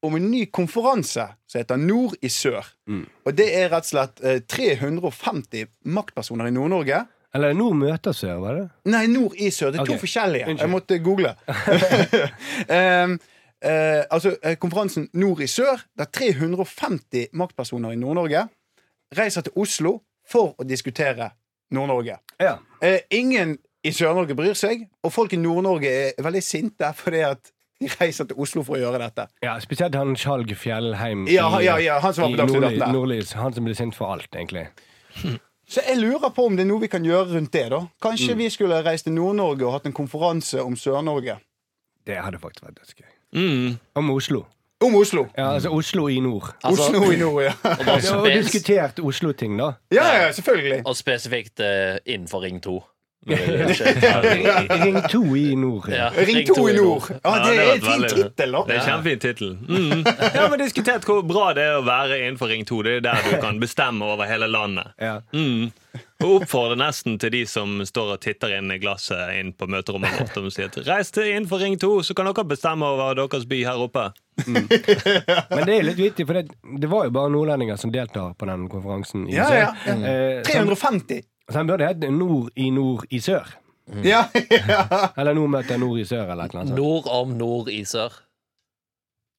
Speaker 2: om en ny konferanse som heter Nord i sør.
Speaker 6: Mm.
Speaker 2: Og det er rett og slett eh, 350 maktpersoner i Nord-Norge.
Speaker 6: Eller Nord møter sør, var det?
Speaker 2: Nei, nord i sør. Det er
Speaker 6: Ok.
Speaker 2: to forskjellige.
Speaker 6: Unnskyld.
Speaker 2: Jeg måtte
Speaker 6: [LAUGHS]
Speaker 2: google. [LAUGHS] um, eh, altså, eh, konferansen Nord i sør, der 350 maktpersoner i Nord-Norge reiser til Oslo for å diskutere Nord-Norge.
Speaker 6: Ja.
Speaker 2: Eh, ingen i Sør-Norge bryr seg, og folk i Nord-Norge er veldig sinte fordi at de reiser til Oslo for å gjøre dette.
Speaker 6: ja spesielt han Skjalg Fjellheim
Speaker 2: Ja, han- ja, ja, han som var
Speaker 6: i
Speaker 2: på Dagsnytt
Speaker 6: Nordly-
Speaker 2: 18 der.
Speaker 6: Nordlys. Han som ble sint for alt, egentlig.
Speaker 2: Så jeg lurer på om det er noe vi kan gjøre rundt det, da.
Speaker 6: Mm.
Speaker 2: Kanskje vi skulle reist til Nord-Norge og hatt en konferanse om Sør-Norge.
Speaker 6: Det hadde faktisk vært dødsgøy.
Speaker 4: Mm.
Speaker 6: Om Oslo.
Speaker 2: Om Oslo.
Speaker 6: Ja, altså Oslo i nord.
Speaker 3: Altså-
Speaker 2: Oslo i nord,
Speaker 6: [LAUGHS]
Speaker 2: ja.
Speaker 3: Og, bare
Speaker 6: Ja, og
Speaker 3: spes
Speaker 6: diskutert Oslo-ting, da.
Speaker 2: Ja, ja, selvfølgelig.
Speaker 3: og spesifikt eh, innenfor Ring [LAUGHS] 2.
Speaker 6: Ring to i nord.
Speaker 3: Ja,
Speaker 2: Ring 2 i nord. Ja,
Speaker 4: Ja,
Speaker 2: det
Speaker 4: det
Speaker 2: er
Speaker 4: var
Speaker 2: en fin
Speaker 4: veldig-
Speaker 2: tittel,
Speaker 4: Det er
Speaker 2: da.
Speaker 4: kjempefin tittel. Mm. [LAUGHS] Ja, men diskutert hvor bra det er å være innenfor Ring 2. Det er der du kan bestemme over hele landet.
Speaker 6: Ja.
Speaker 4: Mm. Og oppfordre nesten til de som står og titter inn i glasset inn på møterommet vårt og sier at reis til innenfor Ring 2, så kan dere bestemme over deres by her oppe.
Speaker 6: Men det er litt vittig, for det, det var jo bare nordlendinger som deltar på den konferansen. I
Speaker 2: Ja,
Speaker 6: sør.
Speaker 2: ja, Mm. ja.
Speaker 6: Eh, så han-
Speaker 2: 350.
Speaker 6: så han burde hett Nord i nord i sør.
Speaker 2: Ja, [LAUGHS] ja.
Speaker 6: Eller Nord møter nord i sør, eller et eller annet sånt.
Speaker 3: Nord om nord i sør.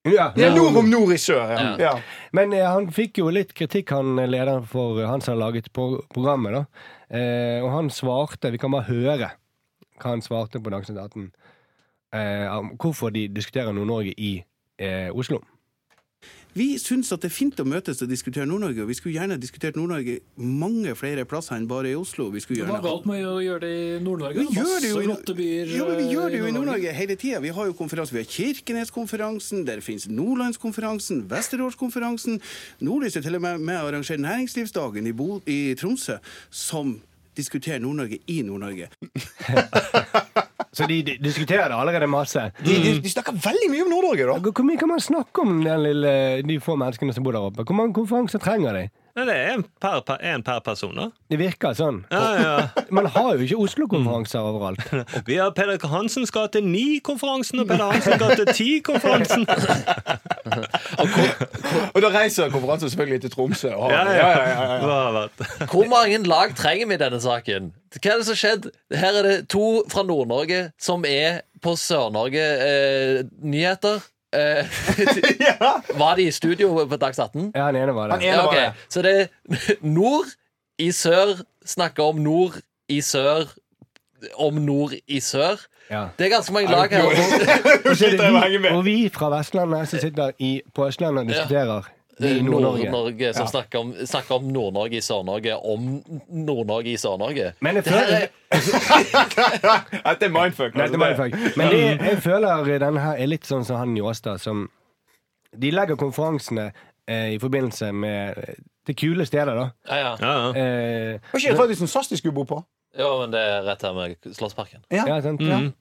Speaker 6: Ja,
Speaker 2: Det er
Speaker 6: nord.
Speaker 2: nord om nord i sør, ja. ja.
Speaker 6: Men eh, han fikk jo litt kritikk, han eh, lederen for eh, han som har laget pro programmet, da. Eh, og han svarte Vi kan bare høre hva han svarte på Dagsnytt 18. Eh, om hvorfor de diskuterer Nord-Norge i eh, Oslo.
Speaker 7: Vi syns at det er fint å møtes og diskutere Nord-Norge, og vi skulle gjerne diskutert Nord-Norge mange flere plasser enn bare i Oslo. Vi skulle
Speaker 8: Hva
Speaker 7: gjerne
Speaker 8: er galt med å gjøre det i Nord-Norge?
Speaker 7: vi
Speaker 8: Det er
Speaker 7: gjør det jo i,
Speaker 8: masse flotte byer,
Speaker 7: ja, men vi gjør det jo
Speaker 8: eh,
Speaker 7: i Nord-Norge hele tida. Vi har jo konferanser. Vi har Kirkeneskonferansen, der fins Nordlandskonferansen, Vesterålskonferansen. Nordlys er til og med med å arrangere Næringslivsdagen i, Bo i Tromsø, som diskuterer Nord-Norge i Nord-Norge.
Speaker 6: Så de, de diskuterer det allerede masse.
Speaker 2: De, de, de snakker veldig mye om Nord-Norge, da.
Speaker 6: Hvor mye kan man snakke om den lille, de få menneskene som bor der oppe? Hvor mange konferanser trenger de?
Speaker 4: Ja, det er en per, per, en per person, da.
Speaker 6: Det virker sånn.
Speaker 4: Ja, ja.
Speaker 6: Man har jo ikke Oslo-konferanser overalt.
Speaker 4: Vi har Peder Hansens gate 9-konferansen og Peder Hansens gate 10-konferansen.
Speaker 2: Og da reiser konferansen selvfølgelig til Tromsø. Og har,
Speaker 4: Ja, ja, ja. Hva har vært?
Speaker 3: Hvor mange lag trenger vi i denne saken? Hva er det som har skjedd? Her er det to fra Nord-Norge som er på Sør-Norge-nyheter. [LAUGHS] eh, Var de i studio på Dags 18?
Speaker 6: Ja, han ene var det.
Speaker 1: ene
Speaker 3: Ja,
Speaker 1: var
Speaker 3: ok.
Speaker 1: det.
Speaker 3: Så det er [LAUGHS] nord i sør snakker om nord i sør om nord i sør.
Speaker 6: Ja.
Speaker 3: Det er ganske mange lag [LAUGHS] her.
Speaker 6: Og, så
Speaker 1: jeg
Speaker 6: er
Speaker 1: må henge
Speaker 6: det vi,
Speaker 1: med.
Speaker 6: og vi fra Vestlandet som sitter i, på Østlandet og diskuterer vi i Eh, Nord-Norge.
Speaker 3: Nord-Norge som snakker om, snakker om Nord-Norge i Sør-Norge om Nord-Norge i Sør-Norge.
Speaker 6: Men jeg
Speaker 3: Det her
Speaker 6: føler,
Speaker 3: er-
Speaker 1: Dette er mindfuck.
Speaker 6: Nei, det var det faktisk. Men det, jeg føler denne her er litt sånn som han Njåstad, som De legger konferansene eh, i forbindelse med eh, til kule steder, da.
Speaker 3: Ja, ja.
Speaker 4: Ja, ja.
Speaker 6: Eh,
Speaker 1: Var ikke det faktisk en SAS de skulle bo på?
Speaker 3: Jo, men det er rett her med Slottsparken.
Speaker 6: ja, sant? De,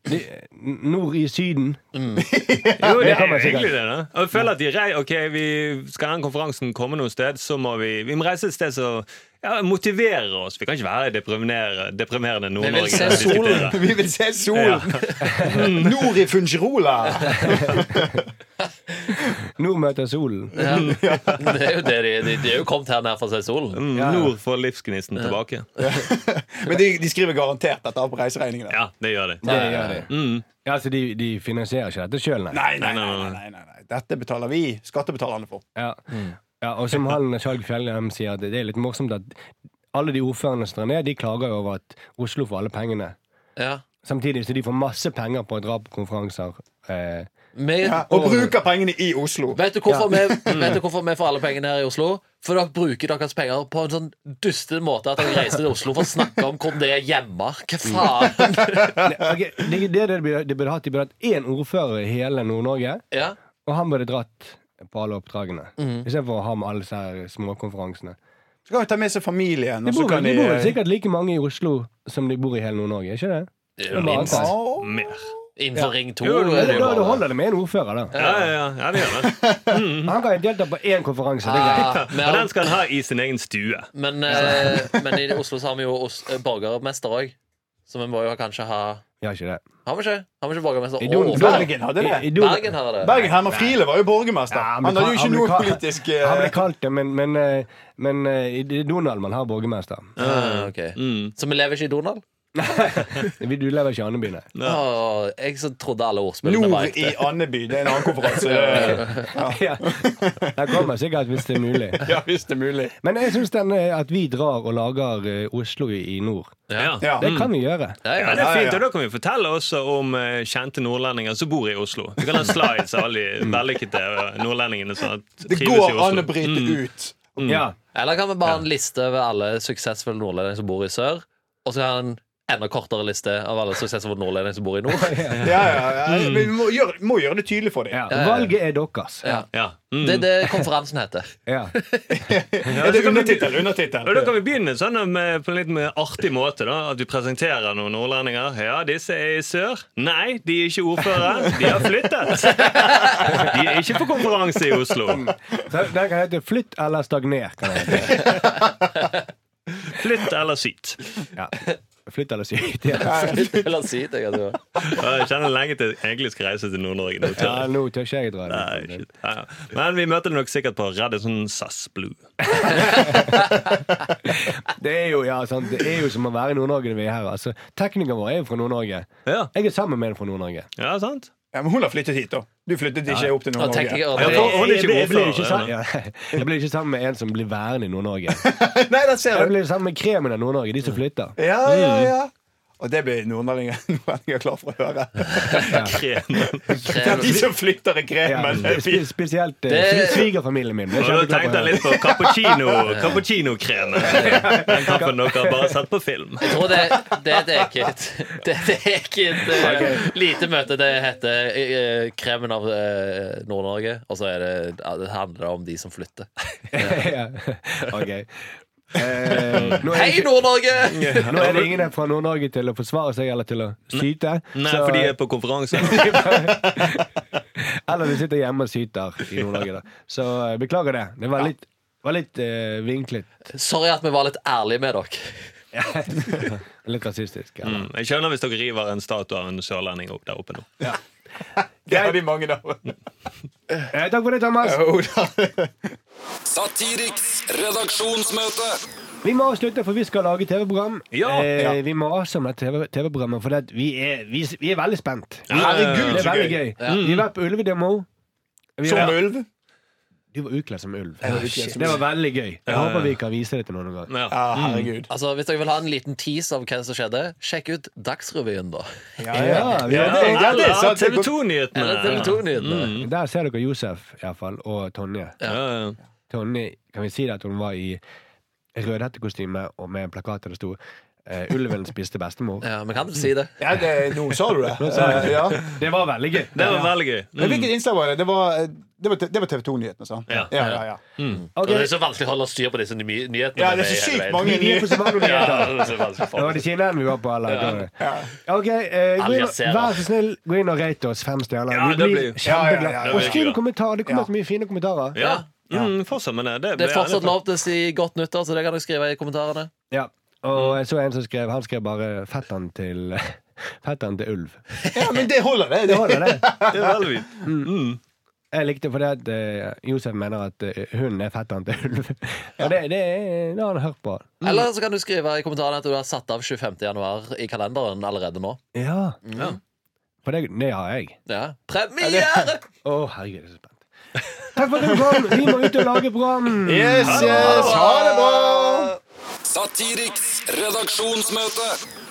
Speaker 6: nord i Syden. [LAUGHS]
Speaker 4: Jo, det
Speaker 6: Mm. Det
Speaker 4: er
Speaker 6: kan man sikkert.
Speaker 4: egentlig det. da. Og jeg føler at de rei, ok, vi Skal den konferansen komme noe sted, så må vi Vi må reise et sted som ja, motiverer oss. Vi kan ikke være i deprimerende, deprimerende
Speaker 3: Vi vil
Speaker 4: Nord-Norge.
Speaker 3: se
Speaker 4: og diskutere.
Speaker 1: Vi vil se
Speaker 2: [LAUGHS]
Speaker 1: solen! Nord i Fungirola!
Speaker 6: Nord møter solen.
Speaker 3: Ja. Det er jo det de, de, de er jo kommet her ned for å se solen.
Speaker 4: Mm, Nord får livsgnisten tilbake.
Speaker 1: Men de, de skriver garantert dette av på reiseregningene.
Speaker 4: Ja, det gjør de.
Speaker 6: Det gjør de. Ja, så de, de finansierer ikke dette sjøl, nei.
Speaker 1: Nei, nei, nei, nei, nei, nei, nei. Dette betaler vi skattebetalerne for.
Speaker 6: Ja. ja, og som han Skjalg Fjellheim sier, det det er litt morsomt at alle de ordførerne som drar ned, de klager jo over at Oslo får alle pengene.
Speaker 3: Ja.
Speaker 6: Samtidig så de får masse penger på å dra på konferanser. Eh,
Speaker 3: Vi,
Speaker 1: Ja, og bruker pengene i Oslo.
Speaker 3: Vet du, hvorfor vi, vet du hvorfor vi får alle pengene her i Oslo? For dere bruker deres penger på en sånn dustete måte at dere reiser til Oslo for å snakke om hvor det er hjemme. Hva faen?
Speaker 6: ok, det, det, det burde, de burde hatt De burde hatt én ordfører i hele Nord-Norge,
Speaker 3: Ja.
Speaker 6: og han burde dratt på alle oppdragene. Istedenfor å ha med alle disse her småkonferansene.
Speaker 1: Så kan vi ta med seg familien.
Speaker 6: Det
Speaker 1: Og så
Speaker 6: bor,
Speaker 1: kan
Speaker 6: de
Speaker 1: de,
Speaker 2: eh,
Speaker 6: bor sikkert like mange i Oslo som de bor i hele Nord-Norge, ikke det?
Speaker 3: Det
Speaker 6: Det
Speaker 3: er jo
Speaker 6: er
Speaker 1: eh,
Speaker 6: bare
Speaker 3: minst.
Speaker 6: antar.
Speaker 4: Mer.
Speaker 3: Innenfor Ring 2.
Speaker 4: Jo, jo,
Speaker 6: Da,
Speaker 3: er det jo
Speaker 6: da da
Speaker 3: bare-
Speaker 6: holder det med en ordfører, da.
Speaker 4: Ja, ja, ja, ja det gjør det.
Speaker 1: Mm.
Speaker 6: Han kan jo delta på én konferanse. Det
Speaker 1: Ah.
Speaker 6: er greit.
Speaker 3: Ja, vi
Speaker 4: Og
Speaker 3: har-
Speaker 4: den skal han ha i sin egen stue.
Speaker 3: men, eh, men i Oslo så har vi jo os- eh, borgermester òg, så vi må jo kanskje ha
Speaker 6: Ja, ikke det.
Speaker 3: Har vi ikke? Har vi ikke borgermester
Speaker 6: I
Speaker 3: og
Speaker 6: Don-
Speaker 3: ordfører?
Speaker 1: Bergen hadde
Speaker 6: I- i
Speaker 1: det.
Speaker 6: Don-
Speaker 3: Bergen har det.
Speaker 1: Bergen Herman Friele var jo borgermester.
Speaker 6: Ja,
Speaker 1: Han hadde
Speaker 6: men
Speaker 1: jo
Speaker 6: kan-
Speaker 1: ikke
Speaker 6: han
Speaker 1: noe
Speaker 6: kan-
Speaker 1: politisk
Speaker 6: Han
Speaker 1: eh,
Speaker 6: ble kalt det, men, men, eh, men eh, i Donald man har borgermester.
Speaker 3: Ah, ok. Så vi lever ikke i Donald?
Speaker 6: Vi- Du lever ikke i Andeby, nei.
Speaker 3: Åh, jeg som trodde alle ordspillene var
Speaker 1: Nord
Speaker 3: ekte.
Speaker 1: i Andeby. Det er en annen
Speaker 6: [LAUGHS]
Speaker 1: konferanse. det-
Speaker 6: Ja. Det kommer sikkert hvis det er mulig.
Speaker 1: [LAUGHS] Ja, hvis det er mulig.
Speaker 6: Men jeg syns at vi drar og lager eh, Oslo i i nord.
Speaker 4: Ja.
Speaker 1: Ja.
Speaker 6: Det kan vi gjøre.
Speaker 3: Ja,
Speaker 4: Ja,
Speaker 3: ja.
Speaker 4: det
Speaker 1: ja.
Speaker 4: er fint, og Da kan vi fortelle også om eh, kjente nordlendinger som bor i Oslo. Vi kan ha slides av alle de vellykkede eh, nordlendingene som
Speaker 1: Det
Speaker 4: trives i
Speaker 1: går an
Speaker 4: Oslo. Mm.
Speaker 1: å bryte
Speaker 6: Mm.
Speaker 1: ut.
Speaker 6: Ja.
Speaker 3: Eller kan vi bare ha en liste over alle suksessfulle nordlendinger som bor i sør, og så ha en enda kortere liste av alle suksessfulle nordlendinger som bor i nord?
Speaker 1: Ja, ja, ja. Vi må gjøre, må gjøre det tydelig for dem.
Speaker 6: Mm. Ja. Valget er deres.
Speaker 3: Ja.
Speaker 4: Ja. Mm.
Speaker 3: Det er det konferansen heter.
Speaker 6: Ja.
Speaker 1: Er det undertittel? Undertittel.
Speaker 4: Og Da kan vi begynne sånn med, på en litt mer artig måte. da At vi presenterer noen nordlendinger. Ja, disse er i sør. Nei, de er ikke ordførere. De har flyttet. De er ikke på konferanse i Oslo.
Speaker 6: Så Den kan hete 'Flytt eller stagner'. Kan den hete.
Speaker 4: Flytt eller syt.
Speaker 6: [LAUGHS] ja. Flytt eller sykt.
Speaker 1: [LAUGHS]
Speaker 6: Ja.
Speaker 3: Eller si det, altså. jeg tror.
Speaker 4: Jeg kjenner lenge til jeg egentlig skal reise til Nord-Norge. nå, tør
Speaker 6: ja,
Speaker 4: jeg.
Speaker 6: nå tør ikke jeg dra.
Speaker 4: Nei, shit. Ja, ja. Men vi møter det nok sikkert på Radisson SAS Blue.
Speaker 6: Det er jo, ja, sant. Det er jo som å være i Nord-Norge. når vi er her altså, Teknikeren vår er jo fra Nord-Norge.
Speaker 4: Ja,
Speaker 6: Jeg er sammen med en fra Nord-Norge.
Speaker 4: ja sant?
Speaker 1: Ja, men hun har flyttet hit, da. Du flyttet ikke opp til
Speaker 3: Og
Speaker 1: Nord-Norge.
Speaker 3: teknikere-
Speaker 4: Ja, for- hun er
Speaker 6: Jeg-
Speaker 4: ikke
Speaker 6: jeg- jeg blir
Speaker 4: ordfører,
Speaker 6: ikke sa-
Speaker 4: eller?
Speaker 6: ja. Jeg blir ikke sammen med en som blir værende i
Speaker 4: [LAUGHS]
Speaker 6: Nord-Norge.
Speaker 1: Nei, der ser
Speaker 6: Jeg
Speaker 1: du.
Speaker 6: blir Mm. sammen med kremen av Nord-Norge, de som flytter.
Speaker 1: Ja, ja, ja. Og det blir [LAUGHS] nordlendinger nordlendinger klar for å høre.
Speaker 4: Kremen.
Speaker 3: krever-
Speaker 1: De som flytter i
Speaker 6: Ja,
Speaker 1: kremen.
Speaker 6: spe- spe- spesielt eh,
Speaker 3: Det-
Speaker 6: sv- svigerfamilien min. Jeg
Speaker 4: Og da
Speaker 6: er kjempeglad for
Speaker 4: tenkte jeg litt på cappuccino cappuccino-kremen. Den kaffen dere har bare sett på film.
Speaker 3: Jeg tror det, det er et eget Det er et eget eh, lite møte. Det heter eh, Kremen av eh, Nord-Norge, og så er det, ja, det handler det om de som flytter.
Speaker 6: [LAUGHS] Ja.
Speaker 4: [LAUGHS]
Speaker 6: ok. Eh, nå, er
Speaker 3: Hei,
Speaker 6: det,
Speaker 3: Nord-Norge!
Speaker 6: ikke- nå er det ingen her fra Nord-Norge til å forsvare seg eller til å syte.
Speaker 4: Nei,
Speaker 6: så- eh,
Speaker 4: for de er på konferanse.
Speaker 6: eller de sitter hjemme og syter i Nord-Norge. da. Så eh, beklager det. Det var litt, var litt eh, vinklet.
Speaker 3: Sorry at vi var litt ærlige med dere.
Speaker 6: Litt rasistisk. Ja.
Speaker 4: Mm, Jeg skjønner hvis dere river en statue av en sørlending opp der oppe nå.
Speaker 1: Det har de mange av.
Speaker 6: Eh, takk for det, Thomas.
Speaker 5: Satiriks redaksjonsmøte.
Speaker 6: Vi må avslutte, for vi skal lage TV-program.
Speaker 4: Ja,
Speaker 6: eh, Vi må mase om dette TV TV-programmet, for det at vi, er, vi, vi er veldig spent. Vi,
Speaker 4: Herregud,
Speaker 6: det er
Speaker 1: så
Speaker 6: veldig
Speaker 1: gøy.
Speaker 6: gøy. Vi har vært på Ulvedemo. Vi
Speaker 2: Som
Speaker 6: var,
Speaker 2: ulv.
Speaker 6: du var utkledd som ulv.
Speaker 2: var utkledd som
Speaker 6: Det var veldig gøy. Jeg håper vi kan vise det til noen gang.
Speaker 4: Ja.
Speaker 2: Ja, Ah, herregud.
Speaker 3: Altså, Hvis dere vil ha en liten tease av hva som skjedde, sjekk ut Dagsrevyen, da.
Speaker 6: Mm. Ja, vi
Speaker 2: Ja, det- ja, det er
Speaker 4: Eller
Speaker 2: sant. Det
Speaker 4: TV
Speaker 2: går-
Speaker 4: 2-nyhetene.
Speaker 3: Eller TV 2-nyhetene.
Speaker 6: Der ser dere Josef i hvert fall, og Tonje.
Speaker 4: Ja. Ja, ja.
Speaker 6: Tonje, kan vi si det at hun var i rødhettekostyme og med en plakat der det stod eh, 'Ulven spiste bestemor'?
Speaker 3: Ja, vi kan vel si det.
Speaker 2: Ja, det, nå sa
Speaker 6: [LAUGHS]
Speaker 2: du det.
Speaker 6: sa
Speaker 2: Eh, ja.
Speaker 6: Det Mm. var veldig gøy.
Speaker 4: Det var veldig gøy. Mm.
Speaker 2: Men hvilket innslag var det? Det var, det var, det var TV 2-nyhetene, sa han.
Speaker 4: Ja.
Speaker 2: Ja, ja, ja.
Speaker 6: Ok,
Speaker 3: Det er så vanskelig å holde styr på disse ny nyhetene.
Speaker 2: ja,
Speaker 3: som
Speaker 2: det er
Speaker 3: hele
Speaker 2: så sykt
Speaker 3: veien.
Speaker 2: mange
Speaker 6: Vi er på så mange nyheter.
Speaker 3: Ja, det er så vanskelig
Speaker 6: Det var
Speaker 3: for
Speaker 6: de kinene vi var på, eller? Ok, eh, gå inn, og-
Speaker 3: Al Jazeera.
Speaker 6: Vær så snill, gå inn og rate oss fem stjerner.
Speaker 4: Ja,
Speaker 6: vi
Speaker 4: det
Speaker 6: blir
Speaker 4: blir-
Speaker 2: Ja, ja,
Speaker 6: kjempeglade.
Speaker 2: ja, det
Speaker 6: og
Speaker 4: blir
Speaker 6: skriv
Speaker 4: bra.
Speaker 6: en kommentar. Det kommer så mye fine kommentarer.
Speaker 4: Ja. Mm, fortsatt med det. Det,
Speaker 3: Det er fortsatt lov til å si godt nyttår, så det kan dere skrive i kommentarene.
Speaker 6: Ja.
Speaker 4: Mm.
Speaker 6: Og så en som skrev Han skrev bare 'fetteren til [LAUGHS] Fetteren til ulv'.
Speaker 2: ja, men det holder, det.
Speaker 6: Det holder, det.
Speaker 4: Det er veldig fint.
Speaker 6: Jeg likte fordi at eh, Josef mener at eh, hunden er fetteren til ulv. Og det, det, er- det har han hørt på.
Speaker 3: Eller så kan du skrive i kommentarene at du har satt av 25. januar i kalenderen allerede nå.
Speaker 6: Ja.
Speaker 4: Mm. Ja.
Speaker 6: For det, det har jeg.
Speaker 3: Ja. Premiere!
Speaker 6: Å, herregud, jeg er så spent. Takk for at du kom! Vi må ut og lage program.
Speaker 2: Yes, yes. Ha det bra!
Speaker 5: Satiriks redaksjonsmøte.